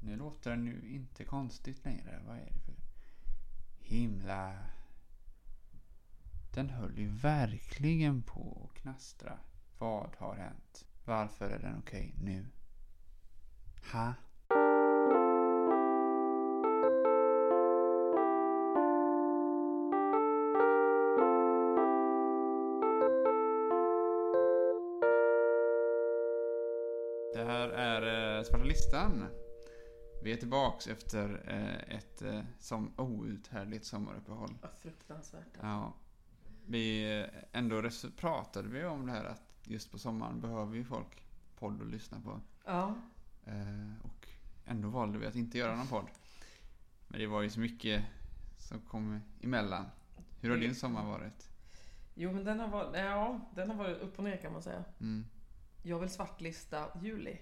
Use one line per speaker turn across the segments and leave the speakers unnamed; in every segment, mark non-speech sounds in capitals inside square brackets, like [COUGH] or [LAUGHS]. Nu låter det nu inte konstigt längre. Vad är det för himla... Den höll ju verkligen på att knastra. Vad har hänt? Varför är den okej nu? Ha? Det här är eh, Svarta Listan. Vi är tillbaks efter eh, ett eh, som outhärdligt sommaruppehåll.
Vad fruktansvärt.
Ja. Vi, eh, ändå res- pratade vi om det här att just på sommaren behöver ju folk podd att lyssna på.
Ja,
Eh, och ändå valde vi att inte göra någon podd. Men det var ju så mycket som kom emellan. Hur
Mm.
har din sommar varit?
jo men den har varit, ja, den har varit upp och ner kan man säga.
Mm.
Jag vill svartlista juli.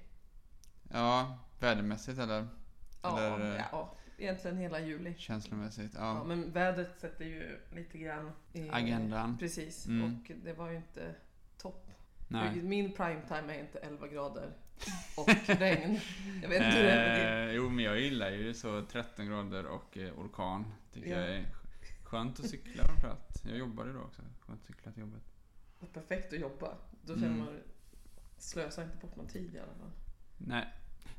Ja, vädermässigt eller?
Ja,
Eller, eh,
ja egentligen hela juli.
Känslomässigt?
Ja.
Ja.
men vädret sätter ju lite grann i,
Agendan?
Precis,
Mm.
och det var ju inte topp.
Nej.
Min primetime är inte 11 grader
[LAUGHS]
och regn. Jag vet inte hur det är med det.
Eh, jo, men jag gillar ju så 13 grader och eh, orkan. Tycker
Ja.
jag är skönt att cykla framförallt. Jag jobbade då också. Skönt att cykla till jobbet.
Det är perfekt att jobba. Då känner
Mm.
man, slösa inte bort någon tid i alla fall.
Nej.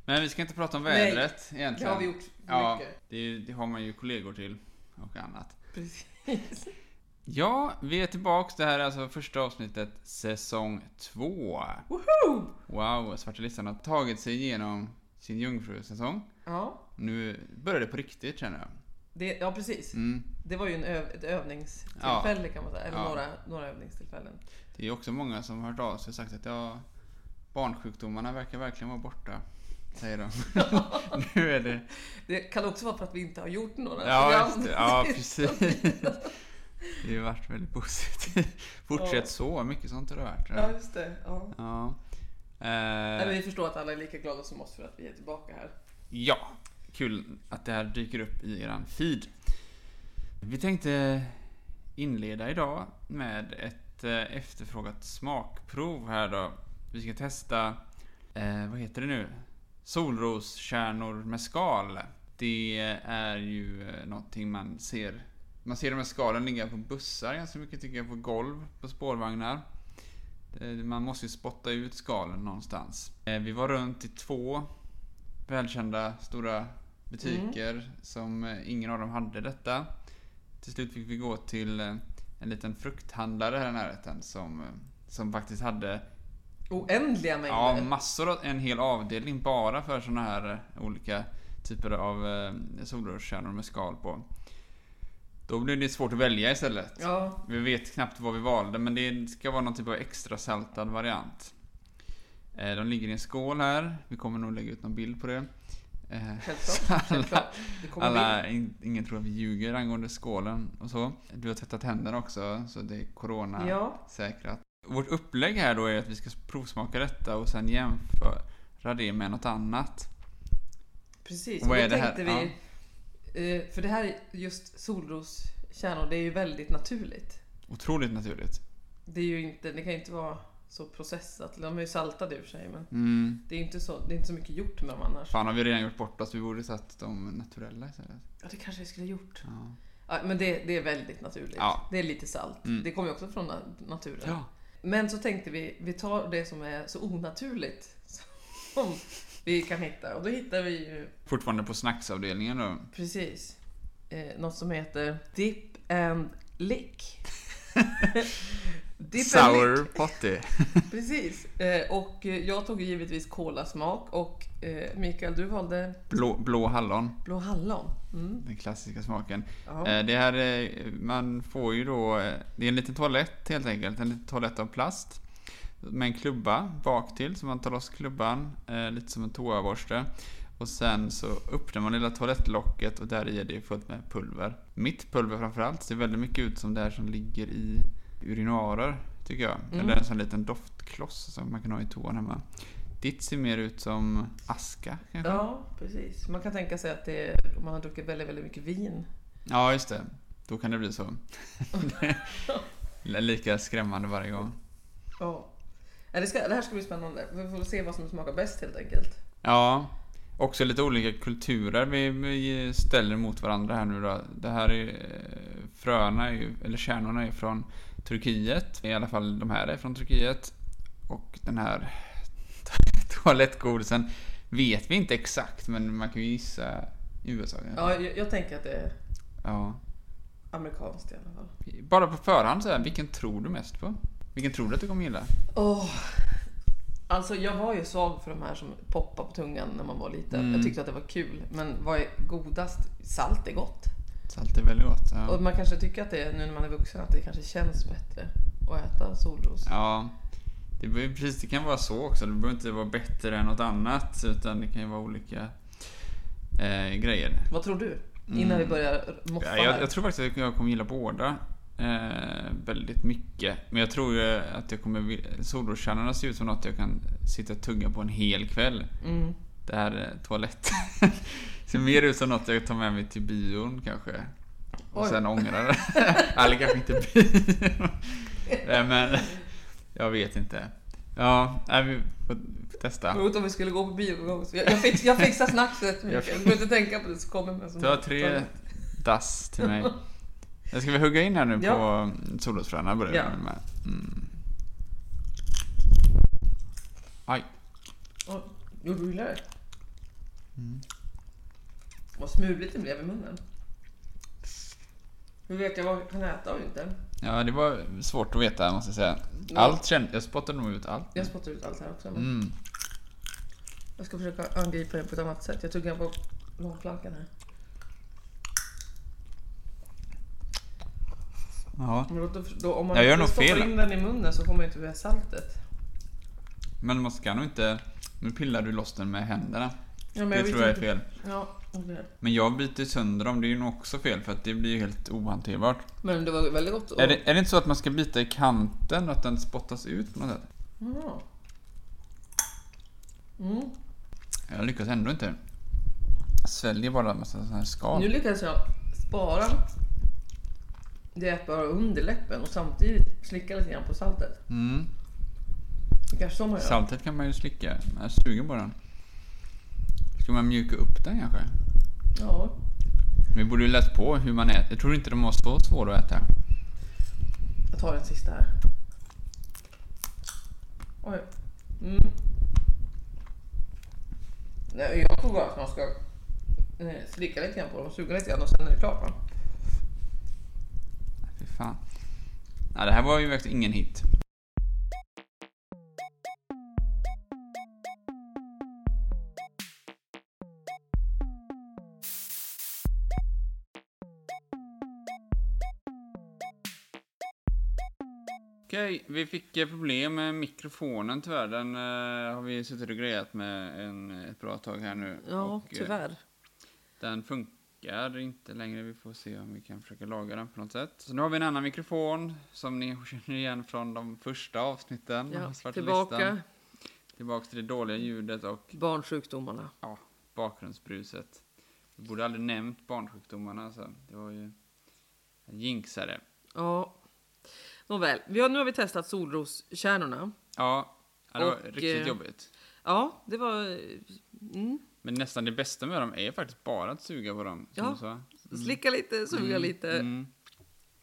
Men vi ska inte prata om
Nej,
vädret
Det
egentligen.
har vi gjort mycket.
Ja. Det, är ju- det har man ju kollegor till och annat.
Precis.
Ja, vi är tillbaks. Det här är alltså första avsnittet, säsong två.
Woho!
Wow, Svarta Listan har tagit sig igenom sin jungfrusäsong.
Ja,
Nu börjar det på riktigt känner jag.
det, ja precis.
Mm.
Det var ju en öv, ett övningstillfälle kan man säga. Eller
Ja.
några, några övningstillfällen.
Det är ju också många som har hört av sig och sagt att ja, barnsjukdomarna verkar verkligen vara borta. Säger de. nu är det...
Det kan också vara för att vi inte har gjort några
Ja,
program.
just
[LAUGHS]
det. ja precis. Det har ju varit väldigt positivt. Fortsätt
Ja.
så, mycket sånt har det varit.
Ja, just det. Ja.
Ja.
Nej, men
Eh,
vi förstår att alla är lika glada som oss för att vi är tillbaka här.
ja, kul att det här dyker upp i eran feed. Vi tänkte inleda idag med ett eh, efterfrågat smakprov här då. Vi ska testa, eh, vad heter det nu? Solroskärnor med skal. Det är ju eh, någonting man ser. Man ser de här skalen ligga på bussar ganska mycket tycker jag, på golv, på spårvagnar. Eh, Man måste ju spotta ut skalen någonstans. Eh, Vi var runt i två välkända stora butiker som eh, ingen av dem hade detta. Till slut fick vi gå till eh, en liten frukthandlare här i närheten som, eh, som faktiskt hade
Oändliga
Ja,
mängder.
massor av, en hel avdelning bara för såna här eh, olika typer av eh, solrörskärnor med skal på. Då blir det svårt att välja istället.
Ja,
Vi vet knappt vad vi valde men det ska vara någon typ av extra saltad variant. Eh, de ligger i en skål här. Vi kommer nog lägga ut någon bild på det. Eh,
självklart.
alla,
självklart. Det kommer bli.
alla, in, ingen tror att vi ljuger angående skålen och så. Du har tvättat händerna också så det är corona
Ja,
säkrat. Vårt upplägg här då är att vi ska provsmaka detta och sen jämföra det med något annat.
precis.
Vad
Vad
är det här?
tänkte Vi, eh, För det här är just solroskärnor, det är ju väldigt naturligt.
Otroligt naturligt.
Det är ju inte, det kan ju inte vara så processat. De är ju saltade i och för sig men
Mm.
det är ju inte så, det är inte så mycket gjort med dem annars.
Fan har vi redan gjort bort oss, vi borde satt de naturella istället.
Ja, det kanske vi skulle ha gjort.
Ja.
Ja, men det, det är väldigt naturligt.
Ja.
Det är lite salt.
Mm.
Det kommer ju också från na- naturen.
ja.
Men så tänkte vi, vi tar det som är så onaturligt [LAUGHS] som vi kan hitta. Och då hittar vi ju
Fortfarande på snacksavdelningen då.
precis eh, något som heter Dip and
[LAUGHS]
Lick. Dip and
Sour potty.
lick. Precis. Eh, och eh, jag tog ju givetvis kolasmak och eh, Mikael, du valde
Blå, blå hallon,
blå hallon. Mm.
den klassiska smaken.
Ja.
Eh, Det här, eh, man får ju då, eh, det är en liten toalett helt enkelt, en liten toalett av plast. Med en klubba bak till så man tar loss klubban, eh, lite som en toaborste. Och sen så öppnar man lilla toalettlocket och där i är det fullt med pulver. Mitt pulver framförallt ser väldigt mycket ut som det här som ligger i urinarer, tycker jag.
Mm.
Eller en sån liten doftkloss som man kan ha i toan hemma. Ditt ser mer ut som aska kanske?
ja, precis. Man kan tänka sig att det är, om man har druckit väldigt, väldigt mycket vin
Ja, just det. Då kan det bli så. Det är Lika skrämmande varje gång.
Ja. Ja, Det, ska, det här ska bli spännande. Vi får se vad som smakar bäst helt enkelt.
Ja, också lite olika kulturer vi, vi ställer mot varandra här nu då. Det här är, eh, fröna, är ju, eller kärnorna är från Turkiet. I alla fall de här är från Turkiet. Och den här [LAUGHS] toalettgodisen vet vi inte exakt, men man kan ju gissa USA kanske.
Ja, jag, jag tänker att det är
Ja.
amerikanskt i alla fall.
Bara på förhand så här, vilken tror du mest på? Vilken tror du att du kommer gilla?
Åh. Alltså jag var ju svag för de här som poppar på tungan när man var liten.
Mm.
Jag tyckte att det var kul. Men vad är godast? Salt är gott.
Salt är väldigt gott. Ja.
Och man kanske tycker att det är, nu när man är vuxen, att det kanske känns bättre att äta solros.
ja. Det, beror ju precis, det kan vara så också. Det behöver inte vara bättre än något annat. Utan det kan ju vara olika eh, grejer.
Vad tror du? Innan vi
Mm.
börjar moffa
Ja,
här.
jag, jag tror faktiskt att jag kommer gilla båda eh, väldigt mycket. Men jag tror ju att jag kommer... vil- Solroskärnorna ser ut som något jag kan sitta och tugga på en hel kväll.
Mm.
Det här eh, toaletten [LAUGHS] ser mer ut som något jag tar med mig till bion kanske. Och
Oj.
sen ångrar det. [LAUGHS] Eller kanske inte bion. Nej, men jag vet inte. Ja, nej, vi får testa.
Mot om vi skulle gå på bio så jag, jag, fix, jag fixar snackset Mikael. Du behöver inte tänka på det så kommer jag som
Ta tre dass till mig. Nu Ska vi hugga in här nu
Ja.
på solrosfröna börjar vi
Ja.
med. Mm. Aj.
Oj, Gjorde du illa dig?
Mm.
Vad smuligt det blev i munnen. Hur vet jag vad jag kan äta och inte?
Ja, det var svårt att veta måste jag säga.
Ja.
Allt kände, jag spottade nog ut allt.
Jag spottar ut allt här också. men
Mm.
Jag ska försöka angripa det på ett annat sätt. Jag tuggar på långplankan här.
Mm. Ja.
Men då, då, om man
Jag gör
inte
nog
stoppar
fel.
in den i munnen så får man ju inte via saltet.
Men man ska nog inte... Nu pillar du loss den med händerna.
Ja, men
det
vet
tror jag är
inte-
fel.
Ja, okej.
Men jag biter sönder dem, det är ju nog också fel för att det blir ju helt ohanterbart.
Men det var väldigt gott.
Är, det, är det inte så att man ska bita i kanten och att den spottas ut på något sätt?
Ja. Mm.
Jag lyckas ändå inte. Sväljer bara en massa sådana här skal.
Nu lyckades jag spara det ätbara under läppen och samtidigt slicka lite grann på saltet.
Mm.
Det kanske så man gör.
Saltet kan man ju slicka. Jag är sugen på den. Ska man mjuka upp den kanske?
Ja.
Vi borde ju läst på hur man äter. Jag tror inte de var så svåra att äta.
Jag tar den sista här. Oj. Mm. Nej, jag tror bara att man ska eh, slicka lite grann på dem, suga lite grann och sen är det klart. Va?
Fy fan. Nej, det här var ju verkligen ingen hit. Okej, vi fick eh, problem med mikrofonen tyvärr. Den eh, har vi suttit och grejat med en, ett bra tag här nu. Och, eh, den funkar inte längre. Vi får se om vi kan försöka laga den på något sätt. Så nu har vi en annan mikrofon som ni [LAUGHS] känner igen från de första avsnitten. av Svarta Listan. Tillbaka till det dåliga ljudet och
barnsjukdomarna.
ja, bakgrundsbruset. Vi borde aldrig nämnt barnsjukdomarna. Så det var ju en jinxare.
Ja. Nåväl, vi har, nu har vi testat solroskärnorna.
Ja, ja, det var
Och,
riktigt
eh,
jobbigt.
Ja, det var... eh, Mm.
Men nästan det bästa med dem är faktiskt bara att suga på dem. Som
Ja,
du sa.
Slicka lite, suga
Mm,
lite.
Mm.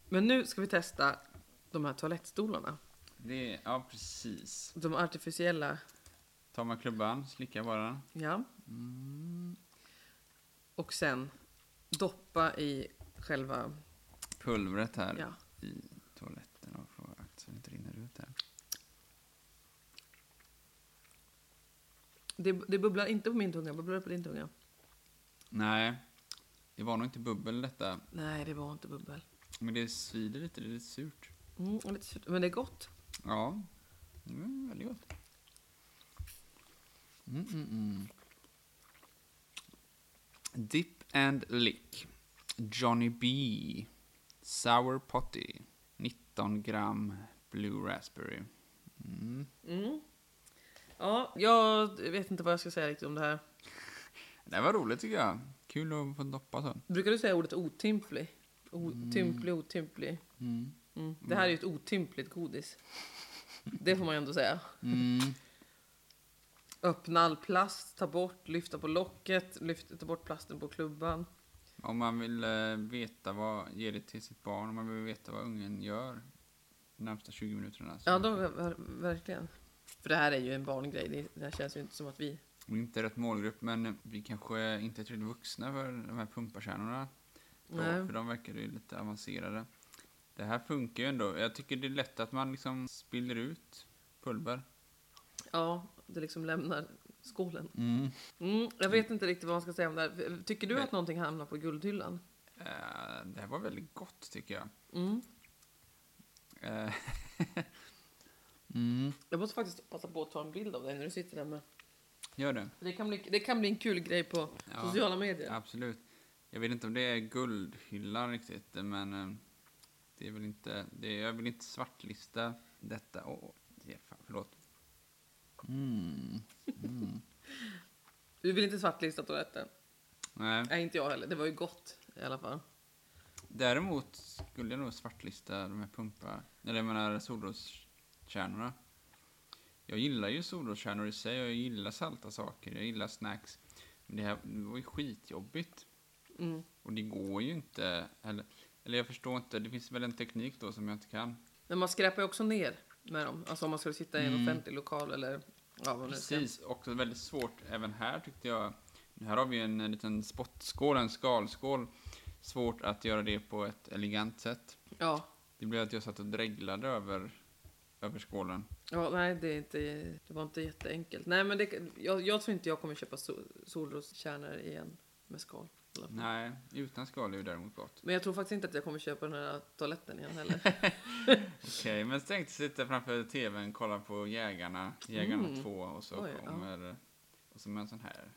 Men nu ska vi testa de här toalettstolarna.
Det, ja, precis.
De artificiella.
Tar man klubban, slickar bara.
Ja. Mm. Och sen doppa i själva...
Pulvret här.
Ja.
i toaletten och få akt så det inte rinner ut där.
Det, det bubblar inte på min tunga, bubblar det på din tunga?
Nej, det var nog inte bubbel detta.
Nej, det var inte bubbel.
Men det svider lite, det är lite surt.
Mm, och lite surt, men det är gott.
Ja, mm, väldigt gott. Mm, mm, mm. Dip and lick. Johnny B. Sour potty. 19 gram blue raspberry. Mm.
Mm. Ja, jag vet inte vad jag ska säga riktigt om det här.
Det här var roligt tycker jag. Kul att få doppa så.
Brukar du säga ordet otymplig? Otymplig, otymplig.
Mm.
Mm. Det här är ju [LAUGHS] ett otympligt godis. Det får man ju ändå säga.
Mm.
Öppna all plast, ta bort, lyfta på locket, lyfta, ta bort plasten på klubban.
Om man vill eh, veta vad, ge det till sitt barn, om man vill veta vad ungen gör de närmsta 20 minuterna. så-
Ja, då, ver- ver- verkligen. För det här är ju en barngrej. Det, det här känns ju inte som att vi...
Och inte rätt målgrupp, men vi kanske inte är tillräckligt vuxna för de här pumparkärnorna. Då,
Nej.
för de verkar ju lite avancerade. Det här funkar ju ändå. Jag tycker det är lätt att man liksom spiller ut pulver.
Ja, det liksom lämnar skålen. Mm, jag vet inte riktigt vad man ska säga om det här. Tycker du
Nej.
att någonting hamnar på guldhyllan?
Eh, det här var väldigt gott tycker jag.
Mm.
Eh, [LAUGHS] mm.
Jag måste faktiskt passa på att ta en bild av dig när du sitter där med.
Gör det.
Det kan bli, det kan bli en kul grej på
Ja.
sociala medier.
Absolut. Jag vet inte om det är guldhyllan riktigt, men eh, det är väl inte, det är, jag vill inte svartlista detta. Åh, det är fan, förlåt. Mm. Mm.
Du vill inte svartlista toaletten?
Nej.
Nej, inte jag heller. Det var ju gott i alla fall.
Däremot skulle jag nog svartlista de här pumpa, eller jag menar solroskärnorna. Jag gillar ju solroskärnor i sig och jag gillar salta saker, jag gillar snacks. Men det här var ju skitjobbigt.
Mm.
Och det går ju inte, eller, eller jag förstår inte, det finns väl en teknik då som jag inte kan.
Men man skräpar ju också ner med dem. Alltså om man skulle sitta i en
Mm.
offentlig lokal eller... Ja, vad man nu ska.
Precis, också väldigt svårt även här tyckte jag. Här har vi ju en liten spottskål, en skalskål. Svårt att göra det på ett elegant sätt.
Ja.
Det blev att jag satt och dreglade över, över skålen.
Ja, nej, det, är inte, det var inte jätteenkelt. Nej, men det, jag, jag tror inte jag kommer köpa sol, solroskärnor igen med skal. i alla fall.
Nej, utan skal är ju däremot gott.
Men jag tror faktiskt inte att jag kommer köpa den här toaletten igen heller. [LAUGHS]
Okej, men tänk att sitta framför tvn och kolla på Jägarna, Jägarna
Mm.
2 och så
Oj, ja.
kommer... Och så med en sån här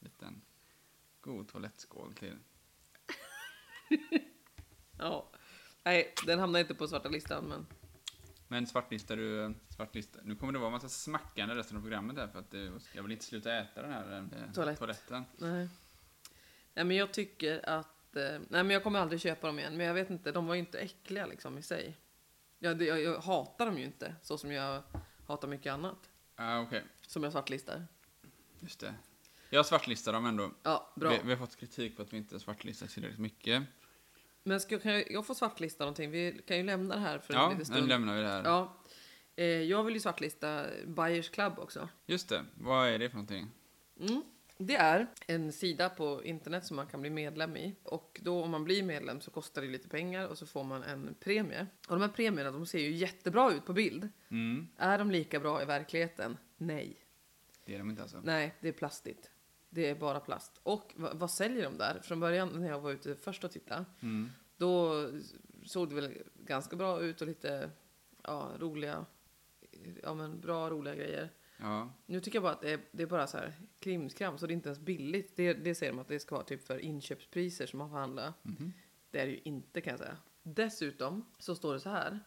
liten god toalettskål till.
ja. Nej, den hamnar inte på svarta listan, men
Men svartlistar du, svartlista. Nu kommer det vara en massa smackande resten av programmet här för att det, jag vill inte sluta äta den här eh,
Toalett.
toaletten.
nej. Nej, men jag tycker att... eh, Nej, men jag kommer aldrig köpa dem igen. Men jag vet inte, de var ju inte äckliga liksom i sig. Jag, jag, jag hatar dem ju inte, så som jag hatar mycket annat.
Ah, Okej,
Som jag svartlistar.
just det. Jag svartlistar dem ändå.
Ja, bra.
Vi, vi har fått kritik för att vi inte svartlistar tillräckligt mycket.
Men ska, kan jag, jag får svartlista någonting? Vi kan ju lämna det här för en
Ja,
liten
nu
stund.
lämnar vi det här.
Ja. Eh, jag vill ju svartlista Bayers Club också.
Just det, vad är det för någonting?
Mm. Det är en sida på internet som man kan bli medlem i. Och då om man blir medlem så kostar det lite pengar och så får man en premie. Och de här premierna de ser ju jättebra ut på bild.
Mm,
Är de lika bra i verkligheten? Nej.
det är de inte alltså.
Nej, det är plastigt. Det är bara plast. Och vad, vad säljer de där? Från början när jag var ute först och tittade
Mm.
Då såg det väl ganska bra ut och lite ja, roliga, ja men bra roliga grejer.
Ja,
Nu tycker jag bara att det är, det är bara så här krimskrams och det är inte ens billigt. Det, det säger de att det ska vara typ för inköpspriser som man får handla.
Mhm.
Det är det ju inte kan jag säga. Dessutom så står det så här.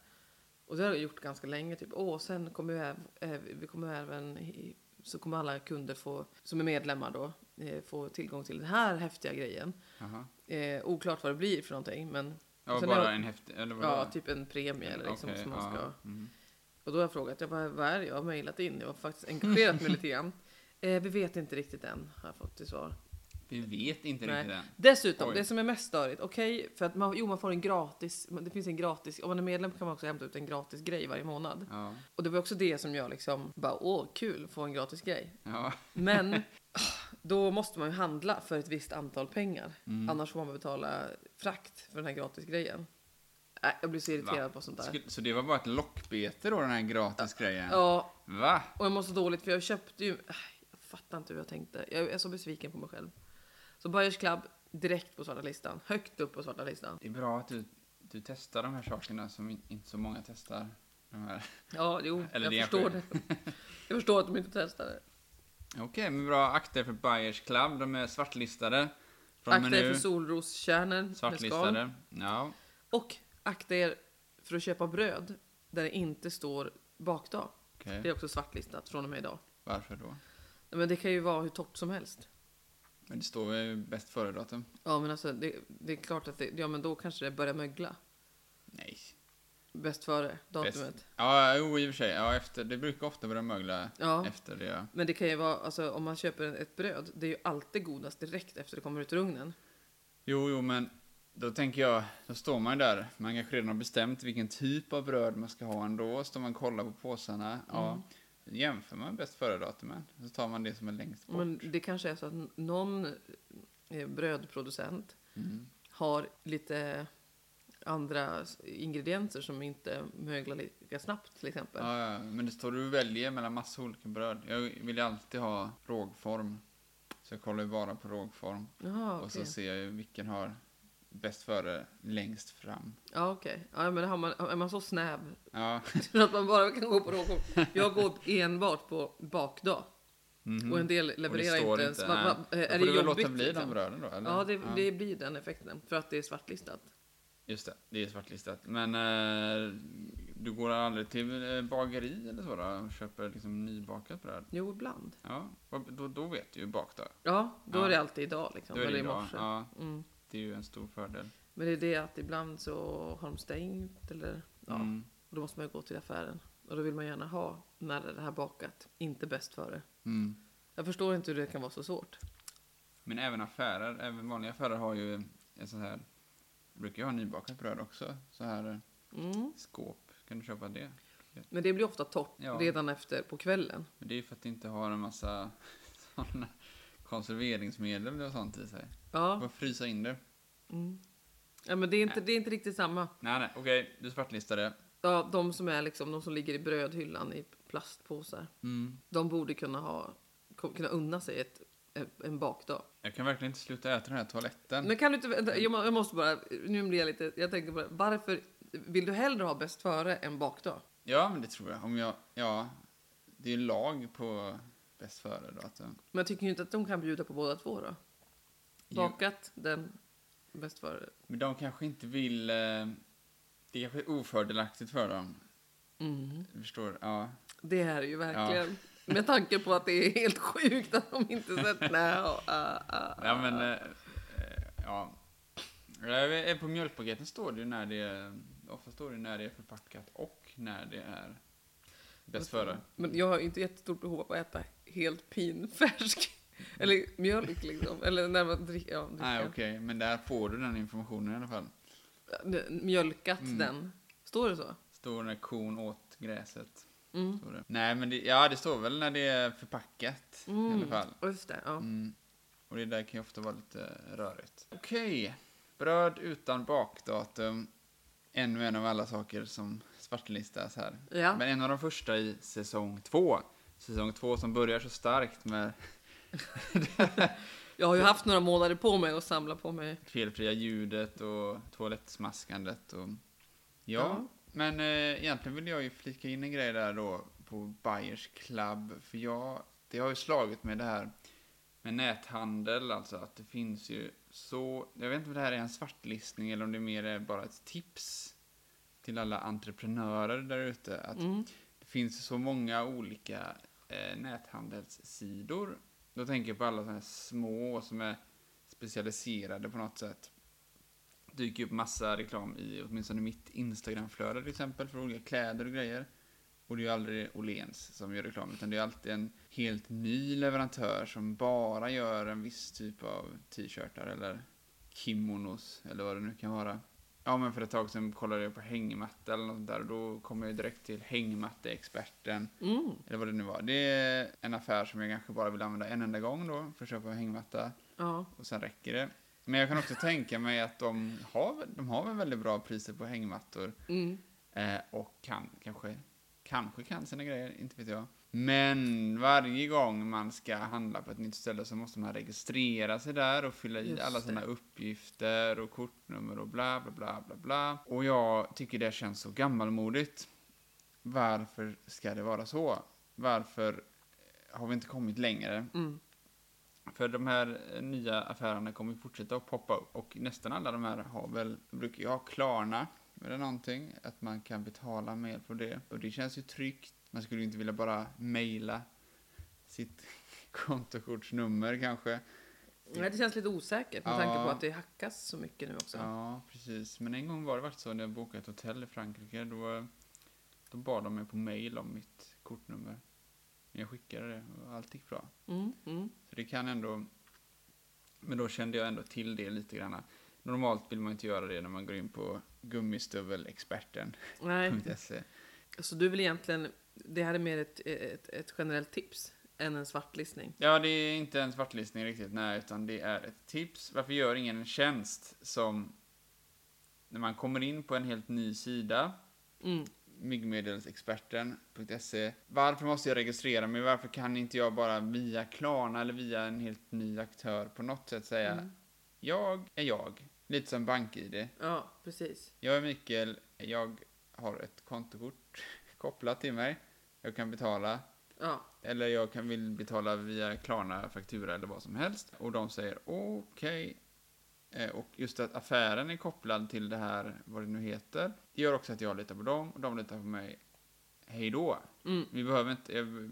Och det har jag gjort ganska länge. Typ, åh, sen kommer vi, äv- eh, vi kommer även, i- så kommer alla kunder få, som är medlemmar då, eh, få tillgång till den här häftiga grejen.
jaha.
Eh, oklart vad det blir för någonting, men
Ja,
Och sen
bara
har-
en häftig, eller vad
Ja,
var det?
typ en premie eller liksom
Okej,
som man ska...
ja. Mm.
Och då har jag frågat, jag bara, vad är det jag har mejlat in? Jag har faktiskt
[LAUGHS]
engagerat mig lite grann. Eh, vi vet inte riktigt än, har jag fått till svar.
Vi vet inte
Nej.
riktigt än.
Dessutom,
Oj.
det som är mest störigt, okej, för att man, jo, man får en gratis, det finns en gratis, om man är medlem kan man också hämta ut en gratis grej varje månad.
Ja,
Och det var också det som jag liksom, bara, åh, kul, få en gratis grej.
ja.
Men
[LAUGHS]
ah, då måste man ju handla för ett visst antal pengar.
Mm.
Annars får man betala frakt för den här gratisgrejen. Äh, jag blir så irriterad på sånt där.
Skulle- Så det var bara ett lockbete då, den här gratisgrejen?
Ja,
Va?
Och jag mår så dåligt för jag köpte ju... Äh, Jag fattar inte hur jag tänkte. Jag är så besviken på mig själv. Så Bayers Club direkt på svarta listan. Högt upp på svarta listan.
Det är bra att du, du testar de här sakerna som in- inte så många testar. De här.
Ja, jo,
Eller det
jag
är
förstår
jag
det. Jag förstår att de inte testade.
Okej, men bra. Akta er för Bayers Club. De är svartlistade. Från och med
Akta er
nu,
för solroskärnor med skal.
Svartlistade. Ja.
Och akta er för att köpa bröd där det inte står bakdag.
Okej.
Det är också svartlistat från och med idag.
Varför då?
Nej, Men det kan ju vara hur torrt som helst.
Men det står ju bäst före-datum.
Ja, men alltså det, det är klart att det, ja, men då kanske det börjar mögla.
Nej.
Bäst före datumet.
Ja, jo, i och för sig. Ja, efter, det brukar ofta börja mögla
Ja.
efter det.
Men det kan ju vara, alltså om man köper ett bröd, det är ju alltid godast direkt efter det kommer ut ur ugnen.
Jo, jo, men då tänker jag, då står man ju där. Man kanske redan har bestämt vilken typ av bröd man ska ha ändå. Står man och kollar på påsarna.
Mm.
Ja, jämför man bäst före-datumen. Så tar man det som är längst bort.
Men det kanske är så att n- någon eh, brödproducent
Mm.
har lite andra s- ingredienser som inte möglar lika snabbt till exempel.
Ja, ja, men det står du och väljer mellan massa olika bröd. Jag vill ju alltid ha rågform. Så jag kollar ju bara på rågform.
Jaha,
Och
okej.
så ser jag ju vilken har bäst före längst fram.
Ja, okej. Ja, men har man, är man så snäv [LAUGHS]
Ja.
så att man bara kan gå på rågång? Jag går enbart på bakdag
Mhm.
och en del levererar
står
inte ens. Va,
nej.
va,
Då
är
får
det
du väl låta
jobbigt?
bli de
liksom?
bröden då? Eller?
Ja, det, det blir den effekten för att det är svartlistat.
Just det, det är svartlistat. Men eh, du går aldrig till eh, bageri eller så då? Och köper liksom nybakat bröd?
Jo, ibland.
Ja, vad- då, då vet du ju bakdag.
Ja, då
Ja.
är det alltid idag liksom.
Då är
Eller i
idag.
morse.
Ja,
Mm.
det är ju en stor fördel.
Men det är det att ibland så har de stängt eller ja,
Mm.
och då måste man ju gå till affären. Och då vill man gärna ha när det här bakat, inte bäst före.
Mm.
Jag förstår inte hur det kan vara så svårt.
Men även affärer, även vanliga affärer har ju en sån här, brukar ju ha nybakat bröd också. Så här eh,
Mm.
skåp, kan du köpa det?
Men det blir ofta torrt
Ja.
redan efter på kvällen.
Men det är ju för att det inte har en massa [LAUGHS] såna konserveringsmedel och sånt i sig.
Ja,
Bara frysa in det.
mm. ja men det är, inte, det är inte riktigt samma.
Nej, nej, okej, du svartlistade.
Ja, de som är liksom, de som ligger i brödhyllan i plastpåsar.
Mm.
De borde kunna ha, kunna unna sig ett, en bakdag.
Jag kan verkligen inte sluta äta den här toaletten.
Men kan du inte, vänta, jag må- jag måste bara, nu blir jag lite, jag tänker bara, varför vill du hellre ha bäst före än bakdag?
Ja, men det tror jag. Om jag, ja, det är ju lag på bäst före eh, datum.
Men jag tycker ju inte att de kan bjuda på båda två då. Bakat, den bäst före.
Men de kanske inte vill... eh, Det kanske är ofördelaktigt för dem. Jag förstår. Ja.
Det här är ju verkligen, med tanke på att det är helt sjukt att de inte
[LAUGHS]
sett, nej, och, ah, ah,
ja, men... eh, eh, Ja. Jag vet- På mjölkpaketen står det ju när det är... Ofta står det när det är förpackat och när det är bäst före.
Men jag har ju inte jättestort behov av att äta helt pinfärsk, eller mjölk liksom, eller när man dricker, ja, dricka.
Mm. Nej, okej. Men där får du den informationen i alla fall.
Mjölkat
Mm.
den. Står det så?
Står när kon åt gräset.
Mm.
Står det. Nej, men det, ja, det står väl när det är förpackat i alla
Mm.
fall.
Just det, ja.
Mm. Och det där kan ju ofta vara lite rörigt. Okej. Bröd utan bakdatum. Ännu en av alla saker som svartlistas här.
Ja.
Men en av de första i säsong två. Säsong två som börjar så starkt
[LAUGHS]
med [LAUGHS]
Jag har ju haft några månader på mig att samla på mig.
felfria ljudet och toalettsmaskandet och... Ja.
Ja.
Men eh, egentligen vill jag ju flika in en grej där då på Bayers Club. För jag, det har ju slagit mig det här med näthandel, alltså att det finns ju så... Jag vet inte om det här är en svartlistning eller om det mer är bara ett tips till alla entreprenörer där ute. Att
Mm.
det finns ju så många olika eh, näthandelssidor. Då tänker jag på alla sådana här små som är specialiserade på något sätt. Det dyker ju upp massa reklam i åtminstone mitt Instagramflöde till exempel för olika kläder och grejer. Och det är ju aldrig Åhléns som gör reklam utan det är alltid en helt ny leverantör som bara gör en viss typ av t-shirtar eller kimonos eller vad det nu kan vara. Ja, men för ett tag sedan kollade jag på hängmatta eller något där och då kom jag ju direkt till hängmatteexperten.
Mm.
Eller vad det nu var. Det är en affär som jag kanske bara vill använda en enda gång då för att köpa hängmatta
Ja.
och sen räcker det. Men jag kan också tänka mig att de har, de har väl väldigt bra priser på hängmattor
Mm.
eh, och kan kanske, kanske kan sina grejer, inte vet jag. Men varje gång man ska handla på ett nytt ställe så måste man registrera sig där och fylla i
Just
alla sina
det.
uppgifter och kortnummer och bla bla bla bla bla. Och jag tycker det känns så gammalmodigt. Varför ska det vara så? Varför har vi inte kommit längre?
Mm.
För de här eh, nya affärerna kommer ju fortsätta att poppa upp och nästan alla de här har väl, brukar ju ha Klarna eller någonting, att man kan betala med hjälp av det. Och det känns ju tryggt. Man skulle ju inte [LAUGHS] vilja bara mejla sitt kontokortsnummer kanske.
Nej, det känns lite osäkert med tanke på
Ja.
att det hackas så mycket nu också.
Ja, precis. Men en gång var det faktiskt så när jag bokade ett hotell i Frankrike. Då, då bad de mig på mail om mitt kortnummer. Men jag skickade det och allt gick bra.
Mm, mm.
Så det kan ändå... Men då kände jag ändå till det lite grann. Normalt vill man inte göra det när man går in på gummistövelexperten.se.
Nej,
Mm.
så du vill egentligen, det här är mer ett, ett, ett generellt tips än en svartlistning.
Ja, det är inte en svartlistning riktigt, nej, utan det är ett tips. Varför gör ingen en tjänst som... När man kommer in på en helt ny sida,
Mm.
myggmedelsexperten.se. Varför måste jag registrera mig? Varför kan inte jag bara via Klarna eller via en helt ny aktör på något sätt säga
Mm.
jag är jag. Lite som BankID.
Ja, precis.
Jag är Mikael, jag har ett kontokort [LAUGHS] kopplat till mig. Jag kan betala
Ja,
eller jag kan vill betala via Klarna, faktura eller vad som helst. Och de säger okej. Eh, Och just att affären är kopplad till det här, vad det nu heter, det gör också att jag litar på dem och de litar på mig. Hej då!
mm.
Vi behöver inte... Jag,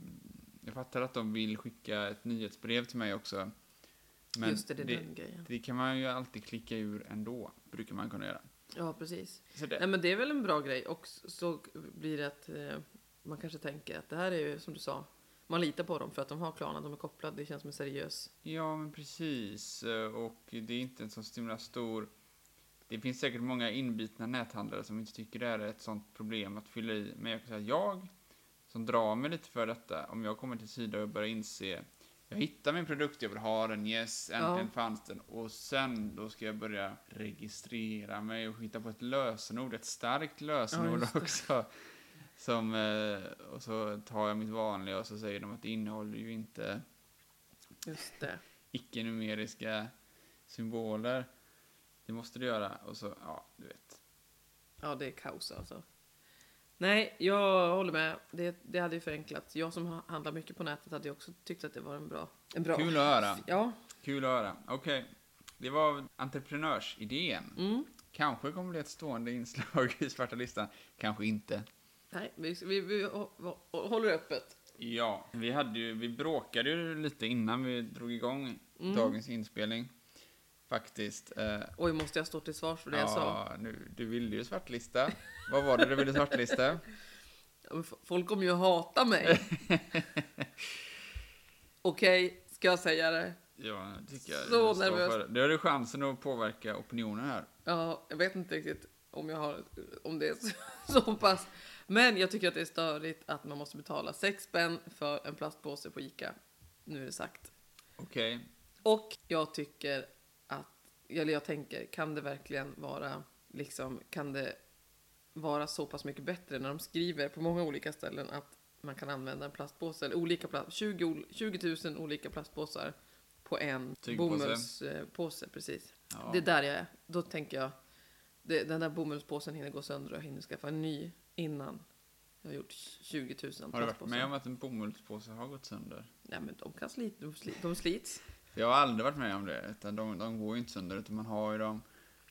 jag fattar att de vill skicka ett nyhetsbrev till mig också. Men
just det, det är
det,
den grejen.
det kan man ju alltid klicka ur ändå, brukar man kunna göra.
Ja, precis.
Så det,
Nej, men det är väl en bra grej och s- så blir det att eh, man kanske tänker att det här är ju som du sa, man litar på dem för att de har Klarna, de är kopplade, det känns som en seriös.
Ja, men precis. Eh, Och det är inte en så himla stor... Det finns säkert många inbitna näthandlare som inte tycker det här är ett sånt problem att fylla i. Men jag kan säga att jag, som drar mig lite för detta, om jag kommer till Sida och börjar inse jag hittar min produkt, jag vill ha den, yes, äntligen
Ja.
fanns den. Och sen då ska jag börja registrera mig och hitta på ett lösenord, ett starkt lösenord
just det.
också. Som, eh, och så tar jag mitt vanliga och så säger de att det innehåller ju inte
Just det.
icke-numeriska symboler. Det måste du göra. Och så, ja, du vet.
Ja, det är kaos alltså. Nej, jag håller med. Det, det hade ju förenklat. Jag som ha- handlar mycket på nätet hade ju också tyckt att det var en bra... En bra.
Kul att höra.
Ja.
Kul att höra. Okej, det var entreprenörsidén.
Mm.
Kanske kommer bli ett stående inslag i svarta listan. Kanske inte.
Nej, vi, vi, vi hå- hå- håller det öppet.
Ja, vi, hade ju, vi bråkade ju lite innan vi drog igång
Mm.
dagens inspelning. Faktiskt. Eh,
Oj, måste jag stå till svars för det jag sa?
ja, nu, du ville ju svartlista. Vad var det du ville svartlista?
Ja, men f- Folk kommer ju
[LAUGHS]
hata mig. Okej, ska jag säga det?
Ja, det tycker jag.
Så
du får stå
nervös.
för det. Då har du chansen att påverka opinionen här.
Ja, jag vet inte riktigt om, jag har, om det är så, så [LAUGHS] pass. Men jag tycker att det är störigt att man måste betala sex spänn för en plastpåse på Ica. Nu är det sagt.
Okej,
Och jag tycker att, eller jag tänker, kan det verkligen vara, liksom, kan det vara så pass mycket bättre när de skriver på många olika ställen att man kan använda en plastpåse, eller olika plast, 20, ol- 20 000 olika plastpåsar på en
Tygpåse.
bomullspåse, precis.
Ja.
Det är där jag är. Då tänker jag, det, den där bomullspåsen hinner gå sönder och jag hinner skaffa en ny innan jag har gjort 20 000 plastpåsar.
Har du varit med om att en bomullspåse har gått sönder?
Nej men de kan slita, de, sli, de slits.
Jag har aldrig varit med om det, utan de, de går ju inte sönder, utan man har ju dem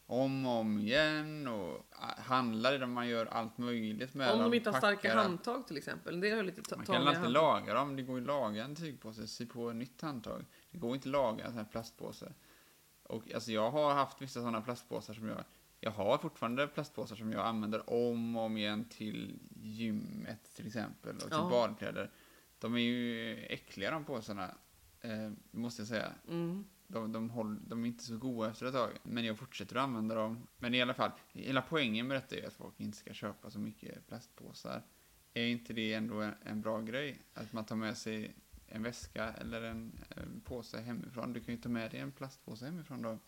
om och om igen och ah, handlar i dem, man gör allt möjligt med
Om
dem.
de inte har starka
packar dem.
handtag till exempel. Det är lite ta-
Man kan
taniga
alltid
handtag.
laga dem, det går ju att laga en tygpåse, sy på ett nytt handtag. Det går inte att laga en sån här plastpåse. Och alltså jag har haft vissa sådana plastpåsar som jag, jag har fortfarande plastpåsar som jag använder om och om igen till gymmet till exempel och till
Ja.
badkläder. De är ju äckliga de påsarna, eh, måste jag säga.
Mm.
De, de, håll, de är inte så goda efter ett tag, men jag fortsätter att använda dem. Men i alla fall, hela poängen med detta är att folk inte ska köpa så mycket plastpåsar. Är inte det ändå en, en bra grej? Att man tar med sig en väska eller en, en påse hemifrån. Du kan ju ta med dig en plastpåse hemifrån då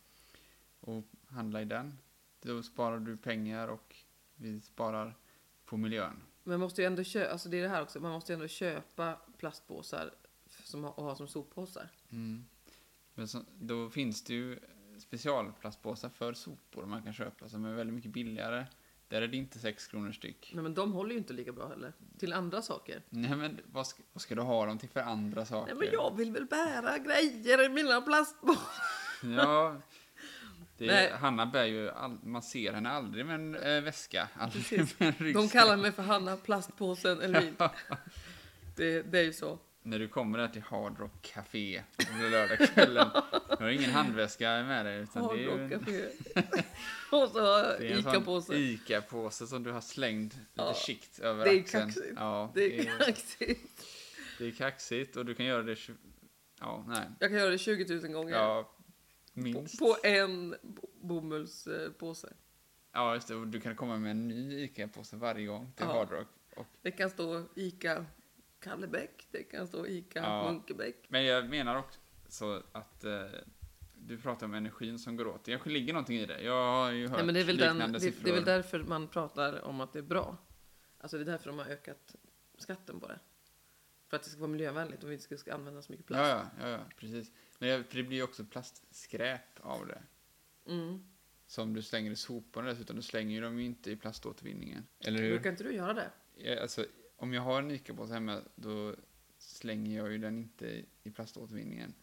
och handla i den. Då sparar du pengar och vi sparar på miljön.
Men måste ju ändå köpa, alltså det är det här också, man måste ju ändå köpa plastpåsar som, ha- och ha som soppåsar.
Mm. Men så, då finns det ju specialplastpåsar för sopor man kan köpa som är väldigt mycket billigare. Där är det inte 6 kronor styck.
Nej, men de håller ju inte lika bra heller. Till andra saker.
Nej men vad ska, vad ska du ha dem till för andra saker?
Nej men jag vill väl bära grejer i mina plastpåsar.
[LAUGHS] Ja. Det
Nej.
är, Hanna bär ju, all, man ser henne aldrig med en eh, väska, aldrig
Precis.
med en
De
ryggsäck.
kallar mig för Hanna
[LAUGHS]
Plastpåsen Elvin. det, det är ju så. [LAUGHS]
När du kommer där till Hard Rock Café på lördagskvällen, Du har ingen handväska med dig utan det är ju en,
Hardrockcafé.
[LAUGHS]
och så har jag
det är en sån
Ica-påse.
Ica-påse som du har slängt lite
Ja.
skikt över
Det är
axeln.
kaxigt.
Ja,
Det är kaxigt.
det är kaxigt och du kan göra det... tju- Ja, nej.
Jag kan göra det 20 000 gånger.
Ja,
på,
minst.
på en bo- bomullspåse.
Ja, just det. Och du kan komma med en ny ICA-påse varje gång till
Ja.
Hardrock. Och,
Det kan stå Ica Kallebäck, det kan stå Ica
Ja.
Munkebäck.
men jag menar också att eh, du pratar om energin som går åt. Det kanske ligger någonting i det. Jag har ju hört
Nej, men det, är väl den,
liknande
det,
siffror.
det är väl därför man pratar om att det är bra. Alltså det är därför de har ökat skatten på det. För att det ska vara miljövänligt och vi inte ska använda så mycket plast.
Ja, ja, ja, ja precis. Men jag, för det blir ju också plastskräp av det.
Mm.
Som du slänger i soporna dessutom. Du slänger ju dem ju inte i plaståtervinningen. Eller hur?
Brukar inte du göra det?
Jag, alltså, om jag har en ICA-påse hemma då slänger jag ju den inte i- i plaståtervinningen.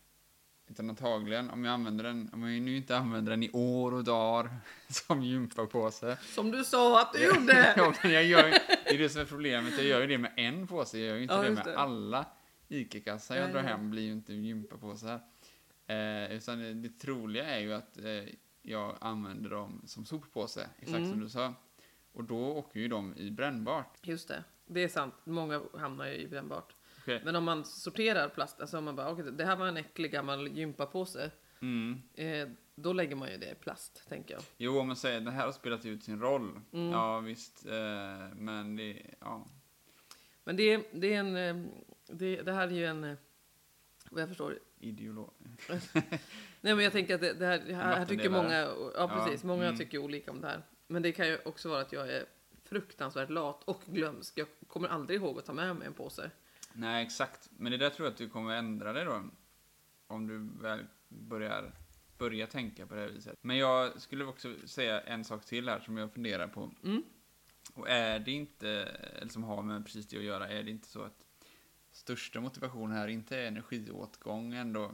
Utan antagligen, om jag använder den, om jag nu inte använder den i år och dagar [LAUGHS] som gympapåse.
Som du sa att du gjorde!
[LAUGHS] Ja, men jag gör, ju- det är det som är problemet, jag gör ju det med en påse, jag gör ju inte
Ja,
det
just
med
det.
alla ICA-kassar jag
Nej,
drar
nej.
hem blir ju inte gympapåsar. Eh, utan det, det troliga är ju att eh, jag använder dem som soppåse, exakt
Mm.
som du sa. Och då åker ju de i brännbart.
Just det, det är sant. Många hamnar ju i brännbart.
Okej.
Men om man sorterar plast, alltså om man bara, okej det här var en äcklig gammal gympapåse.
Mm.
Eh, då lägger man ju det i plast, tänker jag.
Jo, om man säger det här har spelat ut sin roll.
Mm.
Ja, visst. Eh, men det, ja.
Men det, är- det är en... eh, Det, det här är ju en... eh, Vad jag förstår.
Ideolog.
Nej, men jag tänker att det, det här, det här, här tycker många...
vattendelare.
Ja,
Ja,
precis. Många
mm.
tycker olika om det här. Men det kan ju också vara att jag är fruktansvärt lat och glömsk. Jag kommer aldrig ihåg att ta med mig en påse.
Nej, exakt. Men det där tror jag att du kommer ändra dig då. Om du väl börjar, börjar tänka på det här viset. Men jag skulle också säga en sak till här som jag funderar på.
Mm.
Och är det inte, eller som har med precis det att göra, är det inte så att största motivation här inte är energiåtgång ändå,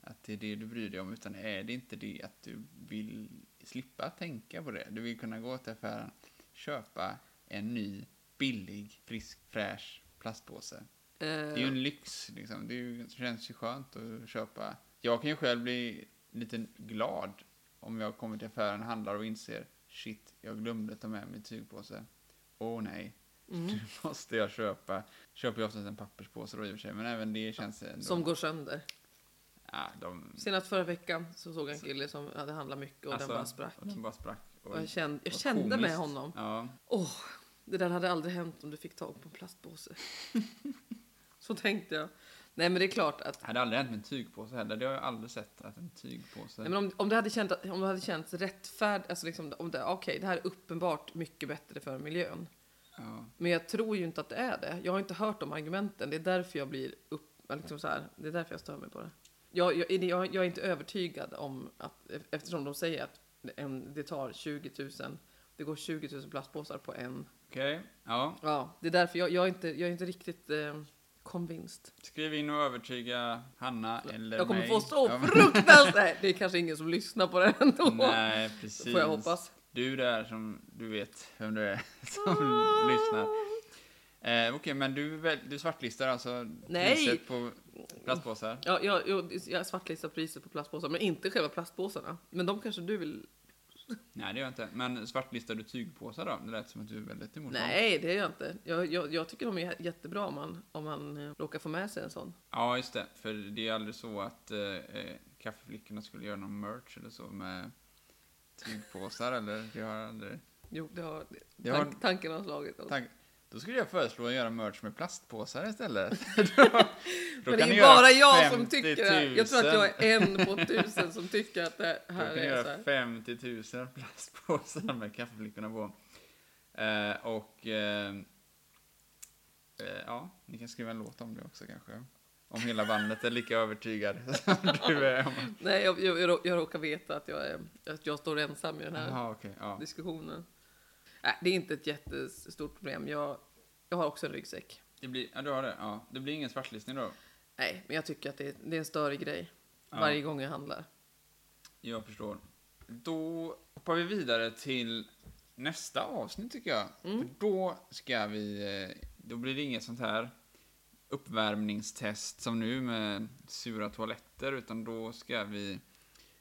att det är det du bryr dig om, utan är det inte det att du vill slippa tänka på det? Du vill kunna gå till affären, köpa en ny, billig, frisk, fräsch plastpåse.
Eh,
Det är ju en lyx, liksom. det, är ju, det känns ju skönt att köpa. Jag kan ju själv bli lite glad om jag kommer till affären, handlar och inser shit, jag glömde ta med mig tygpåse. Åh nej, [LAUGHS]
mm,
nu måste jag köpa. Köper ju oftast en papperspåse då i och för sig, men även det känns ändå...
eh, som går sönder.
Ja, de...
Senast förra veckan så såg jag en kille som hade handlat mycket och den bara sprack.
Och den bara sprack.
Och jag kände, jag
vad
kände med
Alltså, komiskt.
honom.
Ja,
Åh, det där hade aldrig hänt om du fick tag på en plastpåse. så tänkte jag. Nej, men det är klart att
det hade aldrig hänt med en tygpåse heller. Det har jag aldrig sett att en tygpåse...
Nej, men om, om, det hade känt, om det hade känts rättfärdigt, alltså liksom, om det, okej, det här är uppenbart mycket bättre för miljön.
ja.
Men jag tror ju inte att det är det. Jag har inte hört de argumenten. Det är därför jag blir upp, liksom så här, det är därför jag stör mig på det. Jag, jag, är- jag, jag är inte övertygad om att, eftersom de säger att en, det tar 20 000, det går 20 000 plastpåsar på en.
Okej, ja.
Ja, det är därför jag, jag, är, inte, jag är inte riktigt eh, convinced.
Skriv in och övertyga Hanna eller
Jag kommer
mig.
få så
Ja, men-
fruktansvärt... Nej, det är kanske ingen som lyssnar på det ändå.
Nej, precis.
[LAUGHS] Får jag hoppas.
Du där som du vet vem du är [LAUGHS] som lyssnar. Eh, Okej, men du, väl- du svartlistar alltså
Nej.
priset på plastpåsar?
Ja, jag, jag, jag svartlistar priset på plastpåsar, men inte själva plastpåsarna. Men de kanske du vill...
Nej, det gör jag inte. Men svartlistar du tygpåsar då? Det lät som att du är väldigt emot dem.
Nej, det är jag inte. Jag, jag, jag tycker de är jättebra om man, om man eh, råkar få med sig en sån.
Ja, just det. För det är aldrig så att eh, eh, kaffeflickorna skulle göra någon merch eller så med tygpåsar eller? Det har aldrig...
Jo, det har, tank,
Det har-
tanken har slagit alltså. oss.
Tack. Då skulle jag föreslå att göra merch med plastpåsar
[LAUGHS]
istället. då,
Men det
kan
är
ni
ju
göra
bara jag som
50
tycker det här. Jag tror
000.
att jag är en på tusen som tycker att det
Då kan
här
du
är så
göra
här.
50 000 plastpåsar med kaffeflickorna på. Eh, och eh, eh, ja, ni kan skriva en låt om det också kanske. Om hela bandet är lika övertygad som du är. om-
[LAUGHS] Nej, jag, jag, jag, rå- jag råkar veta att jag, är, att jag står ensam i den här
Jaha, okej. ja.
diskussionen. Nej, det är inte ett jättestort problem. Jag, jag har också en ryggsäck.
Det blir, ja, du har det. Ja. Det blir ingen svartlistning då.
Nej, men jag tycker att det är, det är en större grej
Ja.
varje gång jag handlar.
Jag förstår. Då hoppar vi vidare till nästa avsnitt tycker jag. För då ska vi, eh, då blir det inget sånt här uppvärmningstest som nu med sura toaletter, utan då ska vi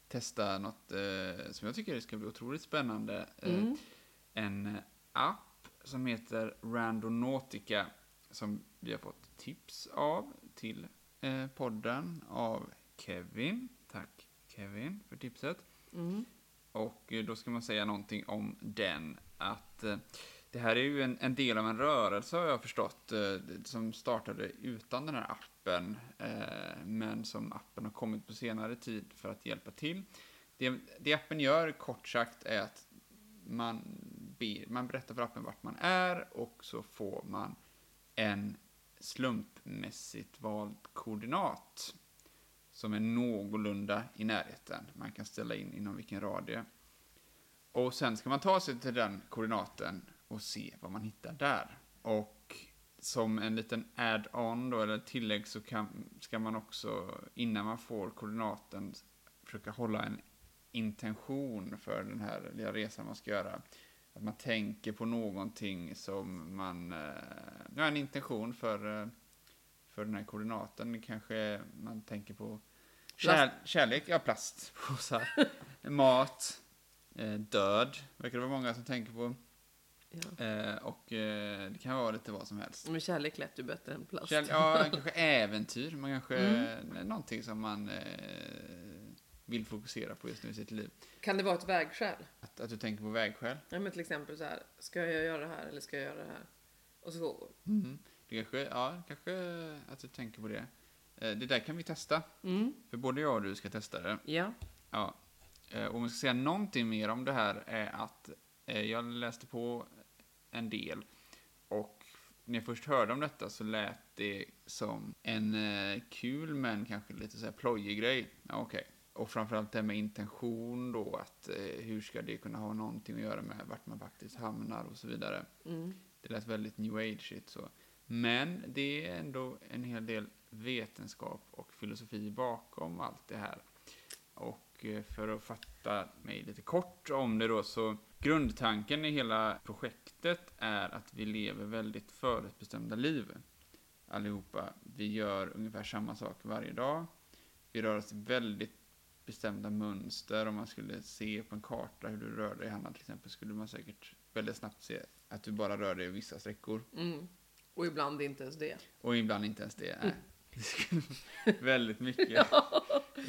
testa något eh, som jag tycker ska bli otroligt spännande. Eh,
Mm.
En app som heter Randonautica som vi har fått tips av till eh, podden av Kevin. Tack Kevin för tipset.
Mm.
Och eh, då ska man säga någonting om den. Att eh, det här är ju en, en del av en rörelse har jag förstått. Eh, som startade utan den här appen. Eh, men som appen har kommit på senare tid för att hjälpa till. Det, det appen gör kort sagt är att man, ber, man berättar för appen vart man är och så får man en slumpmässigt vald koordinat som är någorlunda i närheten. Man kan ställa in inom vilken radie. Och sen ska man ta sig till den koordinaten och se vad man hittar där. Och som en liten add-on då, eller tillägg, så kan, ska man också, innan man får koordinaten, försöka hålla en intention för den här lilla resan man ska göra. Att man tänker på någonting som man... eh, Ja, en intention för, eh, för den här koordinaten. Kanske man tänker på kär, kärlek, ja, plast, [LAUGHS] påsar, mat, eh, död. Verkar det vara många som tänker på.
Ja.
Eh, och eh, det kan vara lite vad som helst.
Men kärlek lät ju bättre än plast.
Kärle- ja, kanske äventyr. Man kanske, Någonting som man eh, vill fokusera på just nu i sitt liv.
Kan det vara ett vägskäl?
Att, att du tänker på vägskäl.
Ja, men till exempel så här, ska jag göra det här eller ska jag göra det här? Och så...
Mm. Det kanske, ja, kanske att du tänker på det. Eh, det där kan vi testa.
Mm.
För både jag och du ska testa det.
Ja.
Ja. Eh, om man ska säga någonting mer om det här är att eh, jag läste på en del och när jag först hörde om detta så lät det som en eh, kul men kanske lite så här plojig grej. Ja, okej. Och framförallt det här med intention då, att eh, hur ska det kunna ha någonting att göra med vart man faktiskt hamnar och så vidare.
Mm.
Det lät väldigt new age-igt så. Men det är ändå en hel del vetenskap och filosofi bakom allt det här. Och eh, för att fatta mig lite kort om det då så grundtanken i hela projektet är att vi lever väldigt förutbestämda liv. Allihopa. Vi gör ungefär samma sak varje dag. Vi rör oss i väldigt bestämda mönster. Om man skulle se på en karta hur du rör dig, Hanna, till exempel, skulle man säkert väldigt snabbt se att du bara rör dig i vissa sträckor.
Mm. Och ibland inte ens det.
Och ibland inte ens det. Nej. Det skulle väldigt mycket i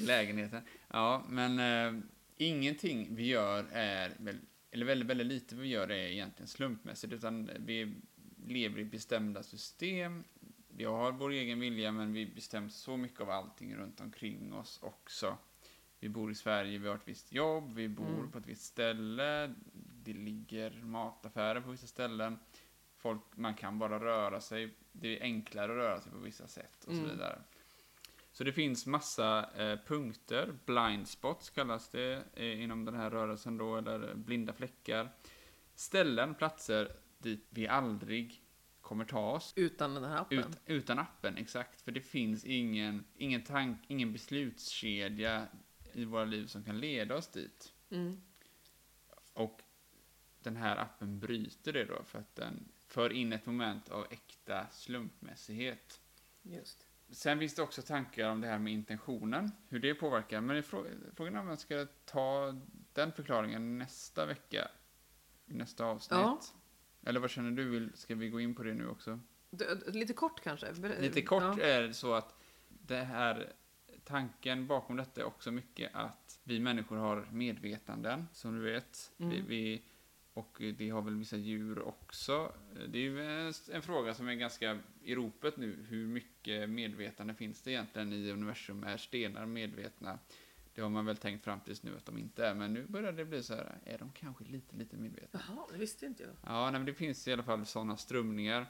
lägenheten. Ja, men eh, ingenting vi gör är, väl, eller väldigt, väldigt lite vi gör är egentligen slumpmässigt, utan vi lever i bestämda system. Vi har vår egen vilja, men vi bestäms så mycket av allting runt omkring oss också. Vi bor i Sverige, vi har ett visst jobb, vi bor
Mm.
på ett visst ställe, det ligger mataffärer på vissa ställen. Folk, man kan bara röra sig, det är enklare att röra sig på vissa sätt och så
Mm.
vidare. Så det finns massa eh, punkter, blind spots kallas det eh, inom den här rörelsen då, eller blinda fläckar. Ställen, platser dit vi aldrig kommer ta oss
Utan den här appen.
ut, utan appen, exakt. För det finns ingen, ingen, tank, ingen beslutskedja i våra liv som kan leda oss dit.
Mm.
Och den här appen bryter det då för att den för in ett moment av äkta slumpmässighet.
Just.
Sen finns det också tankar om det här med intentionen, hur det påverkar. Men det är frå- frågan är om jag ska ta den förklaringen nästa vecka, i nästa avsnitt.
Ja.
Eller vad känner du? Vill- Ska vi gå in på det nu också?
D- d- Lite kort kanske? Ber-
Lite kort
Ja.
är det så att det här tanken bakom detta är också mycket att vi människor har medvetanden, som du vet. Vi,
Mm.
vi, och det har väl vissa djur också. Det är ju en, en fråga som är ganska i ropet nu. Hur mycket medvetande finns det egentligen i universum? Är stenar medvetna? Det har man väl tänkt fram tills nu att de inte är, men nu börjar det bli så här, är de kanske lite, lite medvetna?
Jaha, det visste inte jag.
Ja, nej, men det finns i alla fall sådana strömningar.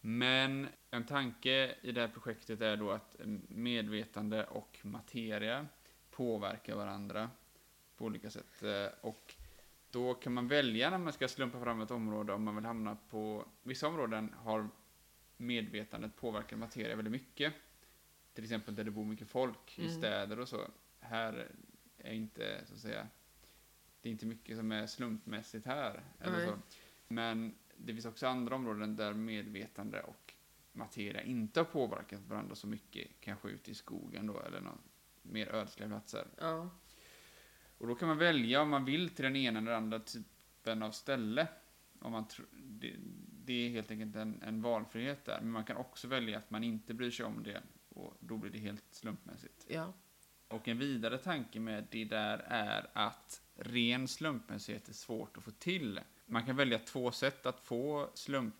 Men en tanke i det här projektet är då att medvetande och materia påverkar varandra på olika sätt. Eh, Och då kan man välja när man ska slumpa fram ett område om man vill hamna på... Vissa områden har medvetandet påverkat materia väldigt mycket. Till exempel där det bor mycket folk i
Mm.
städer och så. Här är inte, så att säga, det är inte mycket som är slumpmässigt här. Eller
Nej.
så. Men det finns också andra områden där medvetande och materia inte har påverkat varandra så mycket, kanske ute i skogen då eller någon mer ödsliga platser.
Ja.
Och då kan man välja om man vill till den ena eller andra typen av ställe. Om man tr- det, det är helt enkelt en, en valfrihet där, men man kan också välja att man inte bryr sig om det och då blir det helt slumpmässigt.
Ja.
Och en vidare tanke med det där är att ren slumpmässighet är svårt att få till. Man kan välja två sätt att få slump.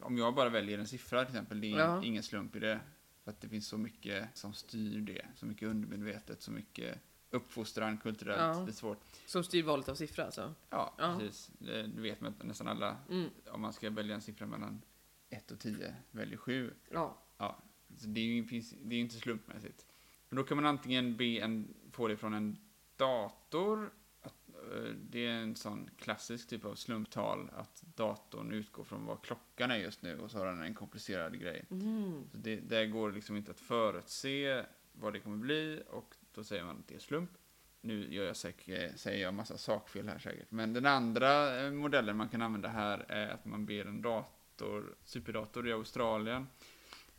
Om jag bara väljer en siffra till exempel, det är
Ja.
ingen slump i det. För att det finns så mycket som styr det, så mycket undermedvetet, så mycket uppfostran kulturellt.
Ja.
Det är svårt.
Som styr valet av siffra alltså?
Ja,
Ja.
precis. Det det vet man att nästan alla.
Mm.
Om man ska välja en siffra mellan 1 och 10, väljer 7.
Ja.
Ja, så det är ju finns, det är ju inte slumpmässigt. Men då kan man antingen be en, få det från en dator. Att, eh, det är en sån klassisk typ av slumptal. Att datorn utgår från vad klockan är just nu och så har den en komplicerad grej.
Mm.
Så det, där går det liksom inte att förutse vad det kommer bli och då säger man att det är slump. Nu gör jag säkert, säger jag massa sakfel här säkert. Men den andra eh, modellen man kan använda här är att man ber en dator, superdator i Australien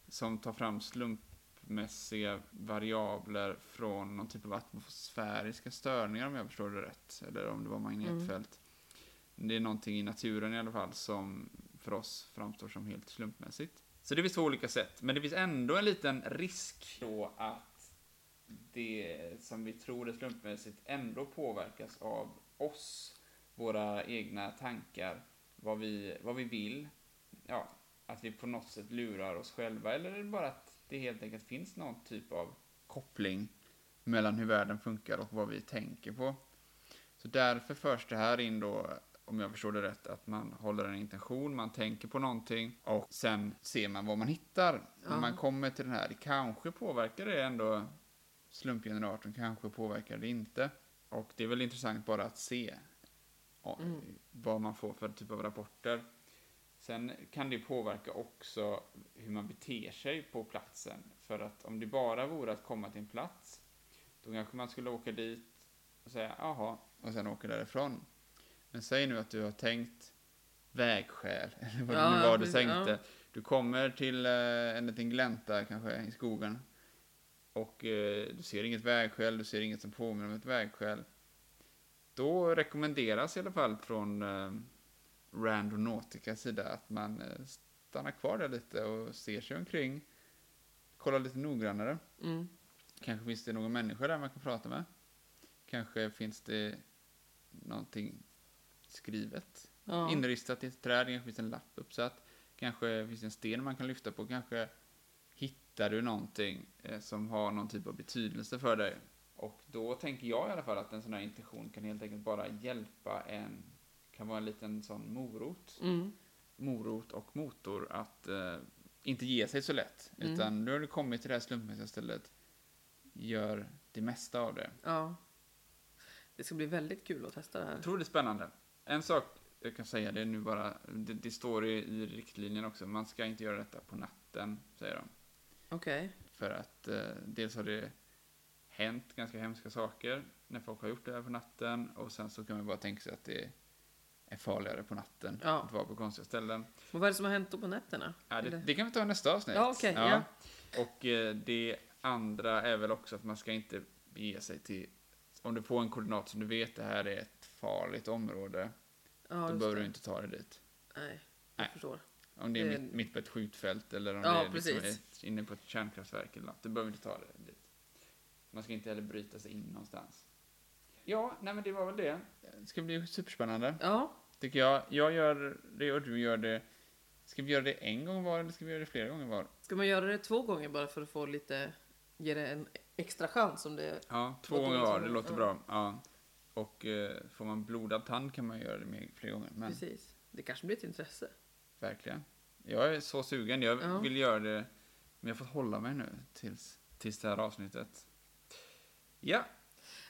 som tar fram slumpmässiga variabler från någon typ av atmosfäriska störningar om jag förstår det rätt. Eller om det var magnetfält. Det är någonting i naturen i alla fall som för oss framstår som helt slumpmässigt. Så det finns två olika sätt, men det finns ändå en liten risk då att det som vi tror är slumpmässigt ändå påverkas av oss, våra egna tankar, vad vi, vad vi vill. Ja, att vi på något sätt lurar oss själva eller är det bara att det helt enkelt finns någon typ av koppling mellan hur världen funkar och vad vi tänker på. Så därför förs det här in då, om jag förstår det rätt, att man håller en intention, man tänker på någonting och sen ser man vad man hittar. När
Ja.
man kommer till den här, det kanske påverkar det ändå slumpgeneratorn, kanske påverkar det inte. Och det är väl intressant bara att se ja,
Mm.
vad man får för typ av rapporter. Sen kan det påverka också hur man beter sig på platsen. För att om det bara vore att komma till en plats, då kanske man skulle åka dit och säga jaha, och sen åka därifrån. Men säg nu att du har tänkt vägskäl, [LAUGHS] eller vad
Ja,
det nu
ja,
var du
precis,
tänkte.
ja.
Du kommer till eh, en liten glänta kanske i skogen och eh, du ser inget vägskäl, du ser inget som påminner om ett vägskäl. Då rekommenderas i alla fall från eh, Randonauticas sida att man eh, stannar kvar där lite och ser sig omkring, kollar lite noggrannare.
Mm.
Kanske finns det någon människa där man kan prata med. Kanske finns det någonting skrivet,
Ja.
inristat i ett träd, kanske finns en lapp uppsatt. Kanske finns det en sten man kan lyfta på, kanske hittar du någonting eh, som har någon typ av betydelse för dig. Och då tänker jag i alla fall att en sån här intention kan helt enkelt bara hjälpa en, kan vara en liten sån morot
Mm.
morot och motor att eh, inte ge sig så lätt.
Mm.
Utan nu har du kommit till det här slumpmässiga stället. Gör det mesta av det.
Ja. Det ska bli väldigt kul att testa det här.
Jag tror det är spännande. En sak jag kan säga, det är nu bara, det, det står i, i riktlinjen också, man ska inte göra detta på natten, säger de.
Okej.
För att eh, dels har det hänt ganska hemska saker när folk har gjort det här på natten och sen så kan man bara tänka sig att det är farligare på natten
Ja.
att vara på konstiga ställen.
Men vad är det som har hänt då på nätterna?
Ja, det,
Eller-
det kan vi ta i nästa avsnitt.
Ja, okej, ja.
Och eh, det andra är väl också att man ska inte bege sig till... Om du får en koordinat som du vet det här är ett farligt område,
ja,
då
just
behöver
det.
du inte ta dig dit.
Nej, jag
Nej.
förstår.
Om det är
Det-
mitt, mitt på ett skjutfält eller om
Ja,
det är liksom
precis.
ett, inne på ett kärnkraftverk eller något, då behöver du inte ta dig dit. Man ska inte heller bryta sig in någonstans. Ja, nej men det var väl det. Det ska bli superspännande,
Ja,
tycker jag. Jag gör det och du gör det. Ska vi göra det en gång var eller ska vi göra det flera gånger var?
ska man göra det två gånger bara för att få lite, ge det en extra chans om det...
Ja, två
Låter
gånger
bra.
var, det låter
Ja.
bra. Ja. Och eh, får man blodad tand kan man göra det med fler gånger. Men
Precis. Det kanske blir ett intresse.
verkligen. Jag är så sugen, jag
Ja.
vill göra det. Men jag får hålla mig nu tills, tills det här avsnittet. Ja,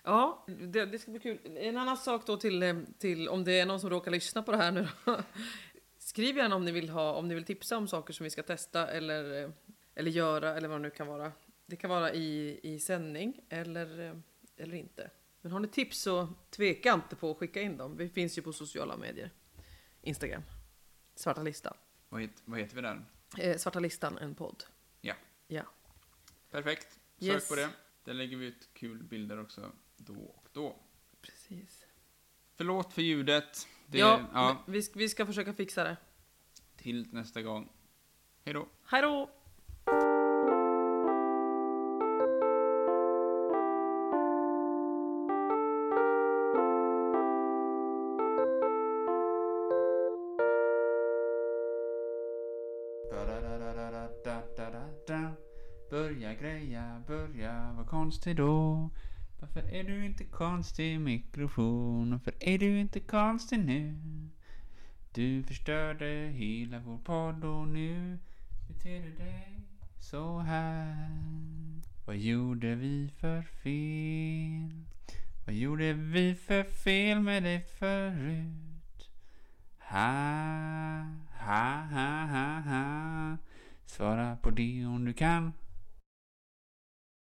Ja, det, det ska bli kul. En annan sak då till, eh, till om det är någon som råkar lyssna på det här nu då. [LAUGHS] Skriv gärna om ni vill ha, om ni vill tipsa om saker som vi ska testa eller, eh, eller göra eller vad det nu kan vara. Det kan vara i, i sändning eller, eh, eller inte. Men har ni tips så tveka inte på att skicka in dem. Vi finns ju på sociala medier. Instagram. Svarta listan.
vad, het, vad heter vi där?
Eh, Svarta listan, en podd.
Ja.
Ja.
Perfekt. Sök
Yes.
på det. Där lägger vi ut kul bilder också då och då.
Precis.
Förlåt för ljudet. Det,
ja,
ja. ja,
Vi, sk- vi ska försöka fixa det.
till nästa gång. Hej då.
Hej då!
Ba-da-da-da-da-da-da-da-da. Börja greja, börja vara konstig då. Varför är du inte konstig i mikrofon? Varför är du inte konstig nu? Du förstörde hela vår podd och nu beter du dig så här. Vad gjorde vi för fel? Vad gjorde vi för fel med dig förut? Ha, ha, ha, ha, ha. Svara på det om du kan.